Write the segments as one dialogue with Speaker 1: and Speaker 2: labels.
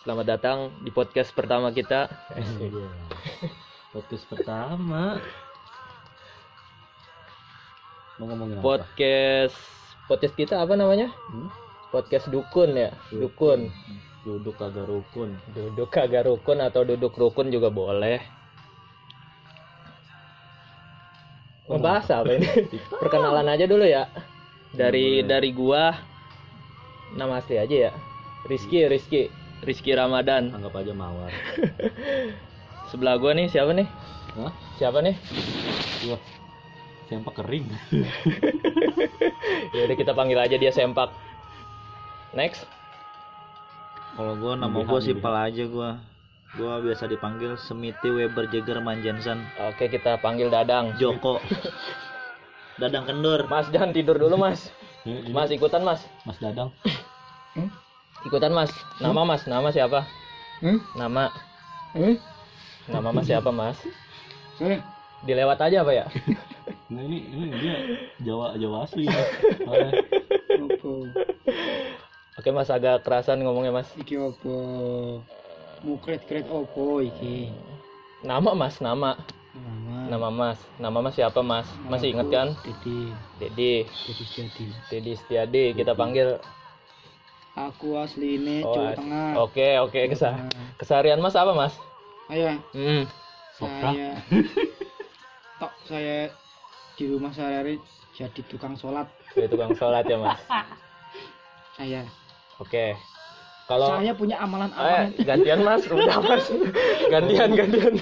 Speaker 1: Selamat datang di podcast pertama kita.
Speaker 2: podcast Iya. pertama mau ngomongin apa?
Speaker 1: Podcast podcast kita apa namanya?
Speaker 2: Hmm?
Speaker 1: Podcast dukun ya, dukun.
Speaker 2: duduk kagak rukun
Speaker 1: Duduk kagak rukun atau duduk rukun juga boleh. Membahas apa ini? Perkenalan aja dulu ya. Dari
Speaker 2: Iya, Boleh.
Speaker 1: dari gua nama asli aja ya.
Speaker 2: Iya.
Speaker 1: Rizky, Rizky, Rizky Ramadan.
Speaker 2: anggap aja mawar
Speaker 1: Sebelah gua nih siapa nih?
Speaker 2: Hah?
Speaker 1: Siapa nih?
Speaker 2: Wah, sempak kering
Speaker 1: Ya udah kita panggil aja dia sempak. Next.
Speaker 3: Kalau gua nama
Speaker 2: Bihan,
Speaker 3: gua
Speaker 2: bihan.
Speaker 3: simpel aja gua. Gua biasa dipanggil Semiti Weber Jager Manjansan
Speaker 1: Oke, kita panggil Dadang.
Speaker 3: Joko. Dadang Kendor.
Speaker 1: Mas jangan tidur dulu mas.
Speaker 2: Ini
Speaker 1: Mas ikutan mas.
Speaker 2: mas dadang
Speaker 1: Ikutan mas. Nama mas. Nama siapa? Nama. Nama mas siapa mas? Dilewat aja apa ya?
Speaker 2: nah ini ini dia jawa jawa asli ya. Oleh.
Speaker 4: Opo,
Speaker 1: Oke mas agak kerasan ngomongnya mas.
Speaker 4: iki opo. Mukret kret opo iki.
Speaker 1: Nama mas. Nama.
Speaker 4: Nama.
Speaker 1: Nama mas. Nama mas siapa mas? Masih inget kan?
Speaker 4: Jadi,
Speaker 1: Dedi.
Speaker 4: jadi jadi.
Speaker 1: Dedi Setiadi. Kita panggil.
Speaker 4: Aku asline
Speaker 1: Oh,
Speaker 4: Jawa
Speaker 1: as-
Speaker 4: Tengah.
Speaker 1: Oke oke kesah.
Speaker 4: Nah,
Speaker 1: Keseharian mas apa mas?
Speaker 4: Ayo,
Speaker 1: Hmm.
Speaker 2: Sopra.
Speaker 4: saya tok saya di rumah sehari jadi tukang sholat
Speaker 1: Jadi tukang sholat ya mas.
Speaker 4: saya.
Speaker 1: Oke. Kalau
Speaker 4: Saya punya amalan
Speaker 1: eh,
Speaker 4: amalan.
Speaker 1: gantian mas, udah mas, gantian gantian.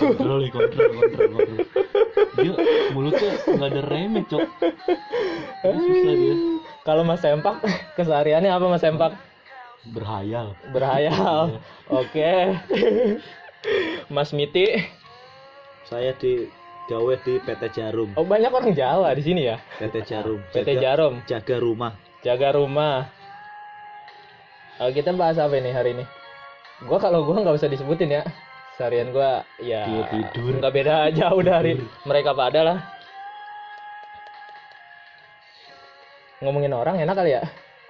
Speaker 2: kontrol nih, kontrol kontrol kontrol dia mulutnya nggak ada remnya cok Dia susah dia
Speaker 1: Kalau Mas Sempak, kesehariannya apa Mas Sempak?
Speaker 2: berhayal Iya.
Speaker 1: Berhayal. Oke. Mas Miti,
Speaker 3: Saya di gawe di PT Jarum.
Speaker 1: oh banyak orang Jawa di sini ya.
Speaker 3: PT Jarum.
Speaker 1: PT Jarum,
Speaker 3: Jaga rumah.
Speaker 1: jaga rumah. Eh, kita bahas apa ini hari ini? Gua kalau gua nggak usah disebutin ya. Seharian gua ya
Speaker 2: Dia tidur.
Speaker 1: nggak beda jauh dari mereka pada lah. Ngomongin orang enak kali ya.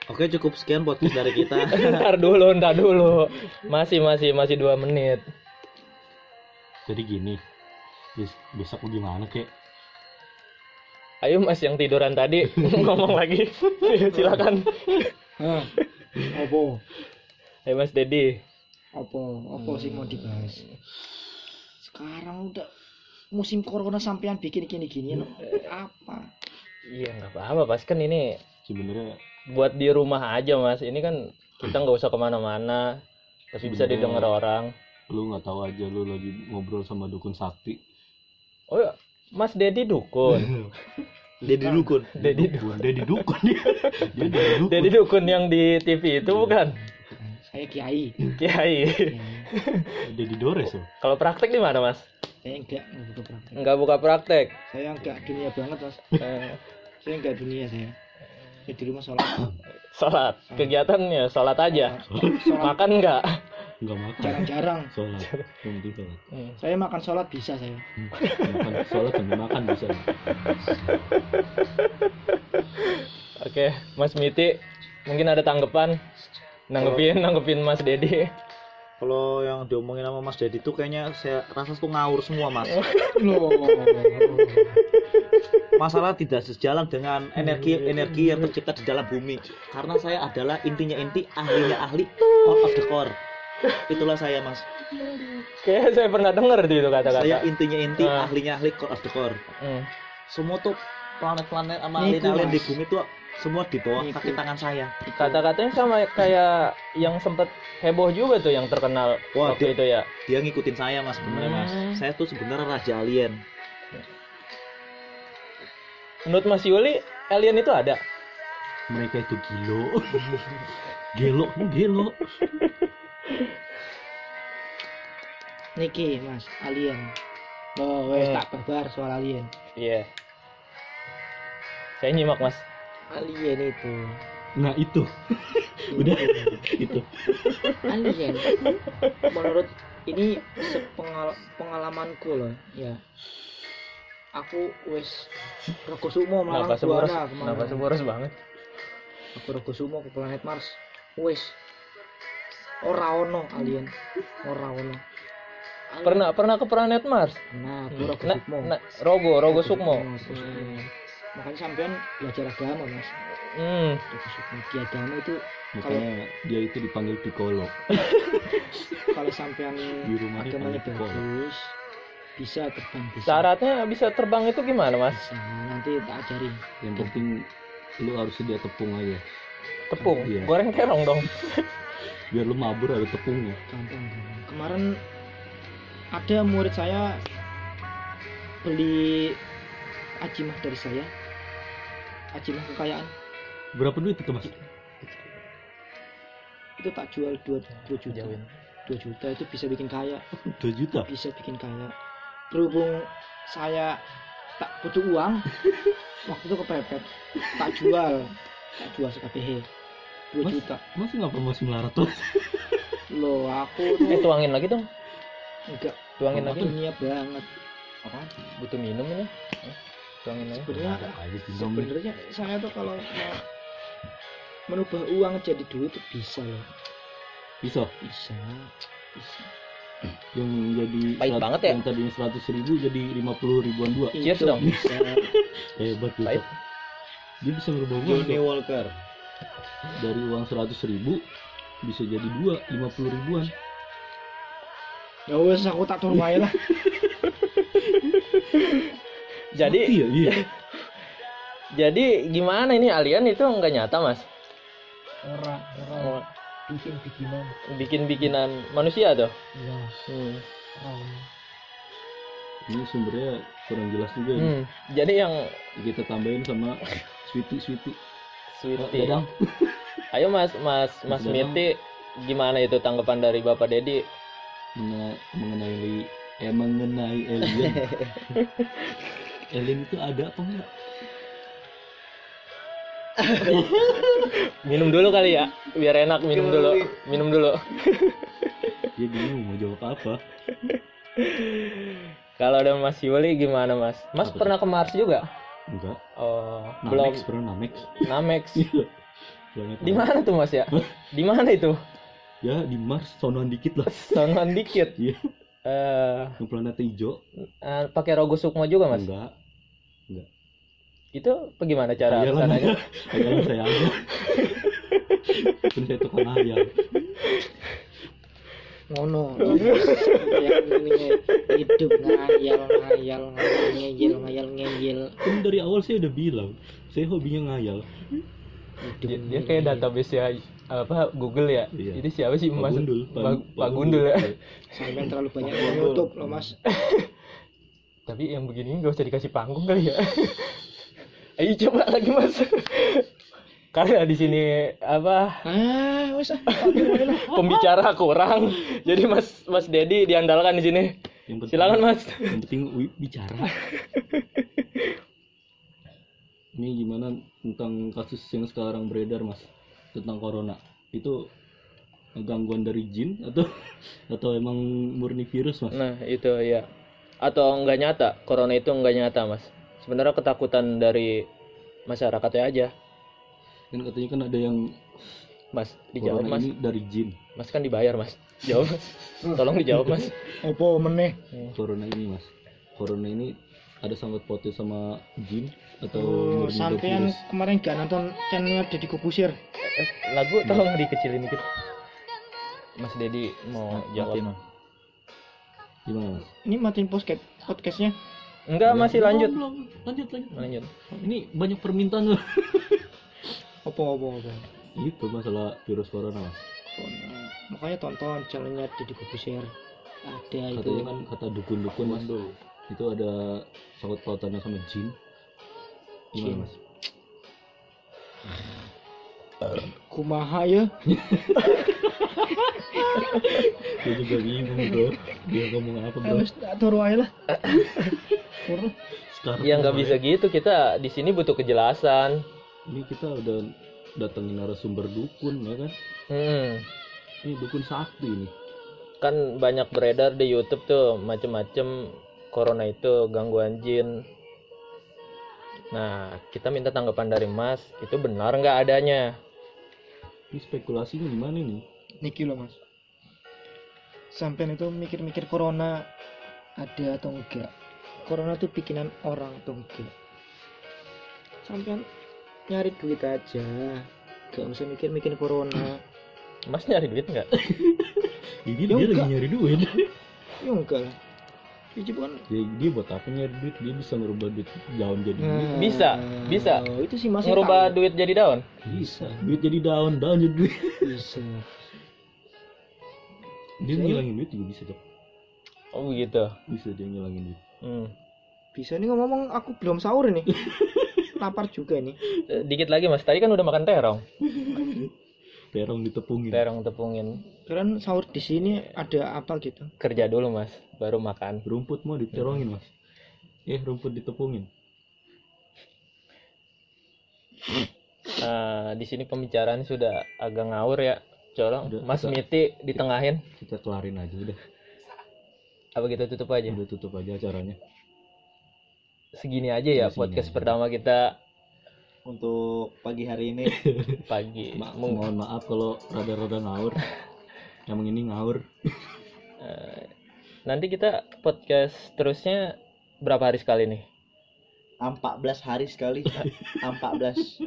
Speaker 3: Oke, cukup sekian podcast dari kita.
Speaker 1: ntar dulu, ntar dulu. Masih masih masih dua menit.
Speaker 2: jadi gini bes- besok lu gimana kek
Speaker 1: Ayo mas yang tiduran tadi ngomong lagi silakan.
Speaker 4: Hah. Opo,
Speaker 1: Ayo mas Dedi.
Speaker 4: opo, opo sih mau dibahas. Sekarang udah musim corona sampean bikin gini gini
Speaker 1: Eh.
Speaker 4: apa?
Speaker 1: Iya nggak apa-apa pas kan ini
Speaker 2: sebenarnya
Speaker 1: buat di rumah aja mas. Ini kan kita nggak usah kemana-mana tapi bisa didengar orang.
Speaker 2: lu nggak tahu aja lu lagi ngobrol sama dukun sakti
Speaker 1: Oh ya, Mas Dedi dukun.
Speaker 3: Jadi dukun.
Speaker 1: Dedi
Speaker 2: dukun dia dukun dia dia di dukun
Speaker 1: Dedi dukun yang di TV itu bukan?
Speaker 4: Saya kiai.
Speaker 1: Kiai.
Speaker 2: dia di dores loh
Speaker 1: Kalau praktek di mana mas?
Speaker 4: saya enggak enggak butuh praktek
Speaker 1: Nggak buka praktek.
Speaker 4: saya enggak dunia banget mas
Speaker 1: Eh,
Speaker 4: saya enggak dunia saya saya di rumah sholat
Speaker 1: Sholat. Kegiatannya sholat aja.
Speaker 4: sholat
Speaker 1: Makan nggak?
Speaker 2: nggak makan
Speaker 4: jarang-jarang
Speaker 2: sholat yang penting sholat
Speaker 1: Hmm.
Speaker 4: saya makan sholat bisa saya
Speaker 2: Hmm, makan sholat sambil makan bisa
Speaker 1: Oke, Mas Miti, mungkin ada tanggapan? Nanggepin, nanggepin Mas Dedi.
Speaker 3: Kalau yang diomongin sama Mas Dedi tuh kayaknya saya rasa tuh ngawur semua, Mas.
Speaker 4: loh
Speaker 3: Masalah tidak sejalan dengan
Speaker 4: Iya,
Speaker 3: energi-energi yang tercipta di dalam bumi. Karena saya adalah intinya inti, ahlinya ahli, core of the core. Itulah saya, Mas.
Speaker 1: Kayaknya saya pernah dengar tuh itu kata-kata.
Speaker 3: Saya intinya inti,
Speaker 1: Ah.
Speaker 3: ahlinya ahli, core of the core.
Speaker 1: Hmm.
Speaker 3: Semua tuh planet-planet sama
Speaker 4: Niku,
Speaker 3: alien-alien di
Speaker 4: Mas.
Speaker 3: bumi tuh semua di bawah
Speaker 4: Niku.
Speaker 3: kaki tangan saya.
Speaker 1: Kata-katanya sama kayak yang sempet heboh juga tuh yang terkenal
Speaker 3: Wah,
Speaker 1: waktu
Speaker 3: dia-
Speaker 1: itu ya.
Speaker 3: Dia ngikutin saya, Mas, sebenarnya, Mas.
Speaker 4: Ah.
Speaker 1: Hmm.
Speaker 3: Saya tuh sebenarnya raja alien.
Speaker 1: Menurut Mas Yuli, alien itu ada.
Speaker 2: mereka itu gilo gelo gelo
Speaker 4: niki mas alien loh wes tak berbar soal alien
Speaker 1: Iya. Saya nyimak Mas.
Speaker 4: alien itu
Speaker 2: nah itu udah itu
Speaker 4: alien menurut ini sepengal- pengalamanku loh ya aku wes rego sumo malam
Speaker 1: Kenapa seburus?
Speaker 4: buana kemarin.
Speaker 1: Kenapa seburus banget?
Speaker 4: aku rego sumo ke planet Mars wes ora ono kalian ora ono
Speaker 1: Pernah pernah ke planet Mars.
Speaker 4: nah
Speaker 1: Hmm.
Speaker 4: pura
Speaker 1: Nah,
Speaker 4: kesukmo
Speaker 1: nah, Rogo, Rogo Sukmo.
Speaker 4: Hmm. makanya sampean belajar agama mas
Speaker 1: Hmm.
Speaker 4: Rogo Sukmo Ki agama itu
Speaker 2: Makanya dia itu dipanggil psikolog
Speaker 4: kalau sampean
Speaker 2: Di rumahnya
Speaker 4: agamanya
Speaker 2: paling pokok.
Speaker 4: bagus bisa terbang bisa
Speaker 1: Syaratnya bisa terbang itu gimana, Mas?
Speaker 4: bisa nanti tak ajari
Speaker 2: Yang penting lu harus sedia tepung aja.
Speaker 1: Tepung,
Speaker 2: Iya.
Speaker 1: goreng terong dong.
Speaker 2: Biar lu mabur ada tepungnya.
Speaker 4: gampang kemarin ada murid saya beli ajimah dari saya ajimah kekayaan
Speaker 2: Berapa duit itu mas?
Speaker 4: itu tak jual 2, juta
Speaker 1: Jauhin.
Speaker 4: 2 juta itu bisa bikin kaya
Speaker 2: 2 juta.
Speaker 4: bisa bikin kaya berhubung saya tak butuh uang waktu itu kepepet tak jual tak jual sekabeh 2
Speaker 2: Mas?
Speaker 4: juta
Speaker 2: Masih nggak promosi melarat tuh?
Speaker 4: loh aku
Speaker 1: Eh,
Speaker 4: tuh
Speaker 1: tuangin lagi dong.
Speaker 4: enggak
Speaker 1: Tuangin lagi.
Speaker 4: dunia banget
Speaker 1: Butuh minum ini. Eh, Tuangin lagi.
Speaker 4: sebenarnya
Speaker 2: aja sih dong.
Speaker 4: sebenarnya saya tuh kalau mau menubah uang jadi duit tuh bisa loh
Speaker 2: Bisa.
Speaker 4: bisa bisa
Speaker 2: Yang jadi
Speaker 1: Pahit
Speaker 2: serat-
Speaker 1: banget ya?
Speaker 2: Yang tadinya seratus ribu jadi lima puluh ribuan dua.
Speaker 1: Cheers
Speaker 4: Itu
Speaker 1: Iya dong.
Speaker 4: bisa
Speaker 2: Hebat gitu.
Speaker 1: Pahit.
Speaker 2: Dia bisa berubah uang
Speaker 3: Johnny
Speaker 2: Cok.
Speaker 3: Walker
Speaker 2: dari uang seratus ribu bisa jadi dua lima puluh ribuan.
Speaker 4: ya wes aku tak turun wae lah
Speaker 1: Jadi
Speaker 2: iya iya.
Speaker 1: jadi gimana ini alien itu nggak nyata, Mas?
Speaker 4: ora ora bikin bikinan
Speaker 1: Bikin-bikinan manusia tuh.
Speaker 4: ya
Speaker 1: Hmm.
Speaker 4: ora
Speaker 2: Ini sumbernya kurang jelas juga. ya.
Speaker 1: Hmm. Jadi yang
Speaker 2: Kita tambahin sama Sweetie Sweetie.
Speaker 1: Sweetie.
Speaker 2: Dadang.
Speaker 1: Ayo Mas, Mas, Mas
Speaker 2: Dadang.
Speaker 1: Miti gimana itu tanggapan dari Bapak Dedi?
Speaker 2: Mena- mengenai eh mengenai alien alien itu ada apa enggak
Speaker 1: Minum dulu kali ya, biar enak minum dulu. Minum dulu.
Speaker 2: dia bingung mau jawab apa
Speaker 1: Kalau ada Mas Yuli gimana Mas? Mas
Speaker 2: Apa
Speaker 1: pernah ke Mars juga?
Speaker 2: enggak
Speaker 1: Oh, belum.
Speaker 2: Namex bro Namex
Speaker 1: Namex.
Speaker 2: Iya. Planet
Speaker 1: Di
Speaker 2: Namex.
Speaker 1: mana tuh Mas ya? Di mana itu?
Speaker 2: ya di Mars sonoan dikit lah
Speaker 1: Sonoan dikit.
Speaker 2: Iya.
Speaker 1: Eh,
Speaker 2: yang planet hijau
Speaker 1: eh, pakai rogo sukmo juga Mas?
Speaker 2: enggak
Speaker 1: Itu bagaimana cara
Speaker 2: Ayalan
Speaker 1: sananya?
Speaker 2: aja ayalan saya aja pun saya tukang ayam
Speaker 4: ngono yang ini hidup ngayal ngayal ngayal, ngeyel ngayal ngeyel
Speaker 2: kan dari awal saya udah bilang saya hobinya ngayal
Speaker 4: hidup
Speaker 1: Dia, dia kayak
Speaker 4: ngeyel.
Speaker 1: database ya apa Google ya.
Speaker 2: Iya.
Speaker 1: Itu siapa sih
Speaker 2: Pak
Speaker 1: Mas?
Speaker 2: Gundul
Speaker 1: Pak, Pak Gundul ya.
Speaker 4: sampean terlalu banyak menutup loh mas
Speaker 1: Tapi yang begini nggak usah dikasih panggung kali ya. Ayo coba lagi mas. Karena di sini apa
Speaker 4: ah wes ah tak turun wae lah.
Speaker 1: pembicara kurang, jadi mas mas Dedi diandalkan di sini.
Speaker 2: yang penting
Speaker 1: Silakan mas.
Speaker 2: yang penting wi- bicara ini gimana tentang kasus yang sekarang beredar mas tentang corona itu gangguan dari jin atau atau emang murni virus mas
Speaker 1: Nah itu ya. Atau nggak nyata, corona itu nggak nyata mas. Sebenarnya ketakutan dari masyarakatnya aja,
Speaker 2: kan katanya kan ada yang
Speaker 1: mas. Dijawab
Speaker 2: corona
Speaker 1: mas.
Speaker 2: ini dari jin
Speaker 1: Mas kan dibayar mas. Jawab mas. Tolong dijawab mas.
Speaker 4: opo meneh
Speaker 2: corona ini mas corona ini ada sangat potnya sama jin atau
Speaker 4: Oh,
Speaker 2: murni dari
Speaker 4: sampean
Speaker 2: virus
Speaker 4: kemarin gak nonton channelnya Deddy Kubusir
Speaker 1: Eh, Lagu tolong dikecilin dikit. Mas Dedi mau jawab.
Speaker 2: Matiin, Mas. gimana mas
Speaker 4: ini matiin podcast podcastnya
Speaker 1: Enggak masih lanjut.
Speaker 2: Belum, belum. lanjut lanjut
Speaker 1: Lanjut.
Speaker 2: ini banyak permintaan loh
Speaker 4: opo opo opo
Speaker 2: itu masalah virus corona mas
Speaker 4: Corona. makanya tonton channelnya Deddy Kubusir ada
Speaker 2: katanya
Speaker 4: Nah, itu
Speaker 2: kan kata dukun-dukun mas itu ada sangkut pautannya sama jin
Speaker 4: Jin.
Speaker 2: gimana mas
Speaker 4: kumaha ya
Speaker 2: dia juga bingung bro dia ngomong apa
Speaker 4: Ah,
Speaker 2: bro
Speaker 4: wes tak turun wae lah Turun.
Speaker 2: sekarang
Speaker 1: Ya nggak bisa gitu kita di sini butuh kejelasan.
Speaker 2: ini kita udah datengin narasumber dukun ya kan
Speaker 1: Mm-mm.
Speaker 2: ini dukun sakti ini
Speaker 1: Hmm. Kan banyak beredar di YouTube tuh macem-macem corona itu gangguan jin. Nah kita minta tanggapan dari Mas itu benar nggak adanya?
Speaker 2: ini spekulasinya gimana nih
Speaker 4: niki loh mas sampean itu mikir-mikir corona ada atau enggak corona tuh bikinan orang atau enggak sampean nyari duit aja gak usah mikir-mikir corona
Speaker 1: Mas nyari duit nggak?
Speaker 2: Jadi
Speaker 4: Ya
Speaker 2: dia lagi
Speaker 4: enggak.
Speaker 2: nyari duit.
Speaker 4: ya enggak lah itu kan
Speaker 2: Ya, dia buat apa nyari duit? Dia bisa ngerubah duit daun jadi
Speaker 1: Hmm.
Speaker 2: duit.
Speaker 4: Nah,
Speaker 1: Bisa, bisa.
Speaker 4: itu sih mas yang
Speaker 1: Ngerubah
Speaker 4: tahu.
Speaker 1: duit jadi daun?
Speaker 2: Bisa. Duit jadi daun, daun jadi duit.
Speaker 4: bisa
Speaker 2: Dia ngilangin duit juga bisa, Cok.
Speaker 1: Oh gitu.
Speaker 2: Bisa dia ngilangin duit.
Speaker 1: Hmm.
Speaker 4: bisa nih ngomong aku belum sahur nih lapar juga nih
Speaker 1: Eh, Dikit lagi mas, tadi kan udah makan terong
Speaker 2: Terong ditepungin.
Speaker 1: Terong tepungin
Speaker 4: kalian sahur di sini ada apa gitu
Speaker 1: Kerja dulu mas, baru makan
Speaker 2: Rumput mau diterongin, Mas. Eh, rumput ditepungin.
Speaker 1: Eh, Di sini pembicaraan sudah agak ngawur ya Colong,
Speaker 2: Udah,
Speaker 1: mas
Speaker 2: udah.
Speaker 1: Miti ditengahin
Speaker 2: Kita kelarin aja udah.
Speaker 1: Apa kita tutup aja?
Speaker 2: Udah tutup aja acaranya.
Speaker 1: Segini aja ya
Speaker 2: Segini
Speaker 1: podcast
Speaker 2: aja.
Speaker 1: pertama kita
Speaker 3: untuk pagi hari ini
Speaker 1: pagi
Speaker 2: Ma
Speaker 1: Mung-
Speaker 2: mohon maaf kalau rada-rada ngawur. Emang ini ngawur.
Speaker 1: Eh, Nanti kita podcast terusnya berapa hari sekali nih?
Speaker 3: 14 hari sekali 14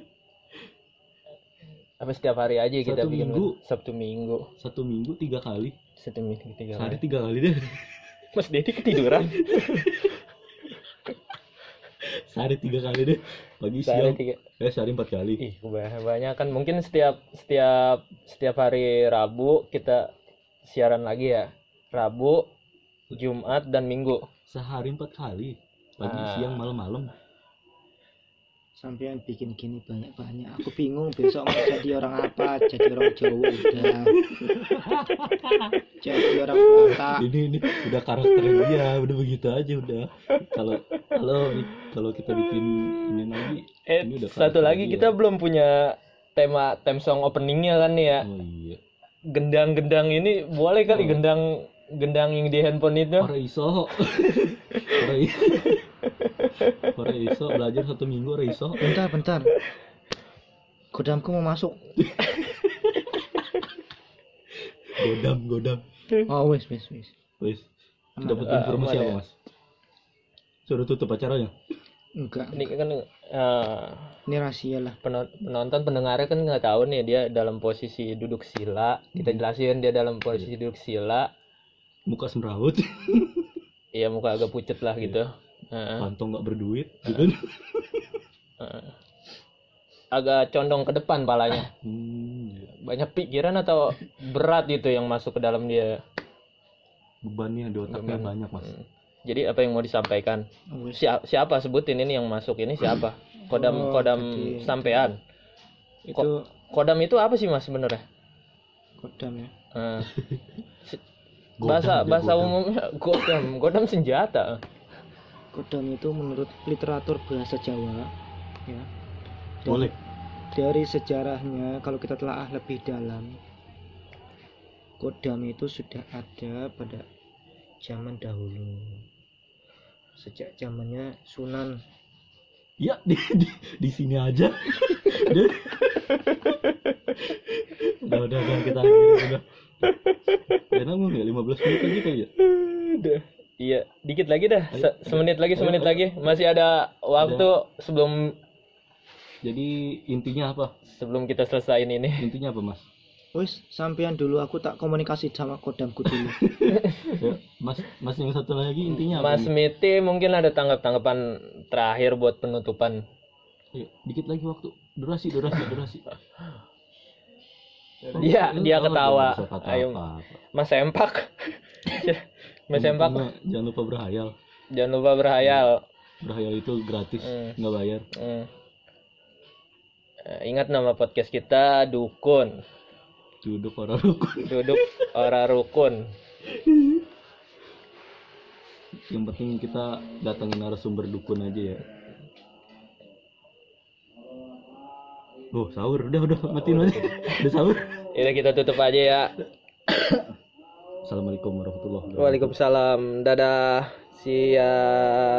Speaker 1: Apa setiap hari aja kita
Speaker 2: Satu
Speaker 1: bikin
Speaker 2: minggu.
Speaker 1: Sabtu minggu
Speaker 2: Satu minggu tiga kali.
Speaker 1: Satu minggu tiga hari
Speaker 2: Sehari tiga kali deh.
Speaker 1: Mas Dedi ketiduran
Speaker 2: Sehari tiga kali deh. Pagi
Speaker 1: Sehari
Speaker 2: siang.
Speaker 1: tiga
Speaker 2: Eh, sehari empat kali.
Speaker 1: Ih, banyak kan mungkin setiap setiap setiap hari Rabu kita siaran lagi ya. Rabu, Jumat dan Minggu.
Speaker 2: Sehari empat kali. Pagi,
Speaker 1: Ah.
Speaker 2: siang, malam-malam.
Speaker 4: sampean bikin gini banyak-banyak aku bingung besok mau jadi orang apa jadi orang Jawa udah jadi orang Batak
Speaker 2: Ini ini udah karakter dia, udah begitu aja udah. Kalau kalau kalau kita bikin ini lagi.
Speaker 1: Eh,
Speaker 2: Ini udah
Speaker 1: satu
Speaker 2: karakter
Speaker 1: lagi
Speaker 2: dia.
Speaker 1: kita belum punya tema theme song openingnya kan nih ya.
Speaker 2: Oh iya.
Speaker 1: Gendang-gendang ini boleh kali
Speaker 2: Oh.
Speaker 1: gendang gendang yang di handphone itu.
Speaker 2: Ora iso. Ora iso. Ora iso belajar satu minggu ora iso.
Speaker 4: bentar bentar godamku mau masuk
Speaker 2: Godam godam.
Speaker 3: Hmm.
Speaker 4: oh wes wes wes
Speaker 2: Wes.
Speaker 4: Aman.
Speaker 2: Dapat
Speaker 1: Ah,
Speaker 2: informasi
Speaker 1: aman
Speaker 2: apa,
Speaker 1: ya.
Speaker 2: Mas? Suruh tutup acaranya.
Speaker 4: enggak
Speaker 1: Ini kan eh,
Speaker 4: ini rahasia lah
Speaker 1: peno- penonton pendengarnya kan nggak tahu nih dia dalam posisi duduk sila. Kita jelasin dia dalam posisi duduk sila.
Speaker 2: Muka semrawut,
Speaker 1: Iya muka agak pucet lah gitu. Heeh.
Speaker 2: kantong nggak berduit,
Speaker 1: Ah.
Speaker 2: gitu.
Speaker 1: agak condong ke depan palanya
Speaker 2: Hmm, iya.
Speaker 1: banyak pikiran atau berat gitu yang masuk ke dalam dia
Speaker 2: bebannya di otaknya
Speaker 1: Beban.
Speaker 2: banyak, Mas.
Speaker 1: Hmm. jadi apa yang mau disampaikan
Speaker 4: oh, wes
Speaker 1: Si- siapa sebutin ini yang masuk ini siapa kodam
Speaker 4: Oh,
Speaker 1: kodam
Speaker 4: jadi-
Speaker 1: sampean
Speaker 4: itu
Speaker 1: kodam itu apa sih mas sebenarnya
Speaker 4: godam ya
Speaker 1: Eh, si-
Speaker 2: Godam
Speaker 1: bahasa
Speaker 2: dia,
Speaker 1: bahasa
Speaker 2: godam.
Speaker 1: umumnya godam godam senjata
Speaker 4: godam itu menurut literatur bahasa Jawa ya Dan
Speaker 2: Boleh.
Speaker 4: dari sejarahnya kalau kita telah lebih dalam kodam itu sudah ada pada zaman dahulu sejak zamannya Sunan
Speaker 2: Ya, di, di, di sini aja. udah, udah, udah, udah, kita akhiri, udah. Karena mau nggak 15 menit aja kali ya?
Speaker 1: Udah. Iya, dikit lagi dah.
Speaker 2: Ayo,
Speaker 1: Se-
Speaker 2: ayo.
Speaker 1: semenit lagi,
Speaker 2: Ayo,
Speaker 1: semenit
Speaker 2: ayo.
Speaker 1: lagi. Masih ada waktu sebelum
Speaker 2: Jadi intinya apa?
Speaker 1: sebelum kita selesaiin ini.
Speaker 2: Intinya apa, Mas?
Speaker 4: wis sampean dulu aku tak komunikasi sama kodamku dulu
Speaker 2: Ya, mas, Mas yang satu lagi intinya apa?
Speaker 1: Mas
Speaker 2: nih?
Speaker 1: Miti mungkin ada tanggap-tanggapan terakhir buat penutupan.
Speaker 2: Ayo, Iya, dikit lagi waktu. Durasi, durasi, durasi.
Speaker 1: Dia-
Speaker 2: Lu
Speaker 1: Iya, dia
Speaker 2: tahu
Speaker 1: ketawa.
Speaker 2: dong, bisa kata
Speaker 1: Ayo.
Speaker 2: apa-apa.
Speaker 1: Mas Sempak. Mas Sempak,
Speaker 2: Jangan lupa- Jangan lupa berhayal.
Speaker 1: jangan lupa berhayal.
Speaker 2: Berhayal itu gratis,
Speaker 1: Hmm.
Speaker 2: nggak bayar.
Speaker 1: Hmm. Eh, Ingat nama podcast kita Dukun.
Speaker 2: Duduk orang rukun.
Speaker 1: Duduk ora rukun.
Speaker 2: Yang penting kita datangin narasumber dukun aja ya. Oh, sahur. Udah, udah. Matiin aja. Udah sahur.
Speaker 1: Yaudah kita tutup aja ya.
Speaker 2: Assalamualaikum warahmatullahi wabarakatuh.
Speaker 1: Waalaikumsalam. Dadah. Siap.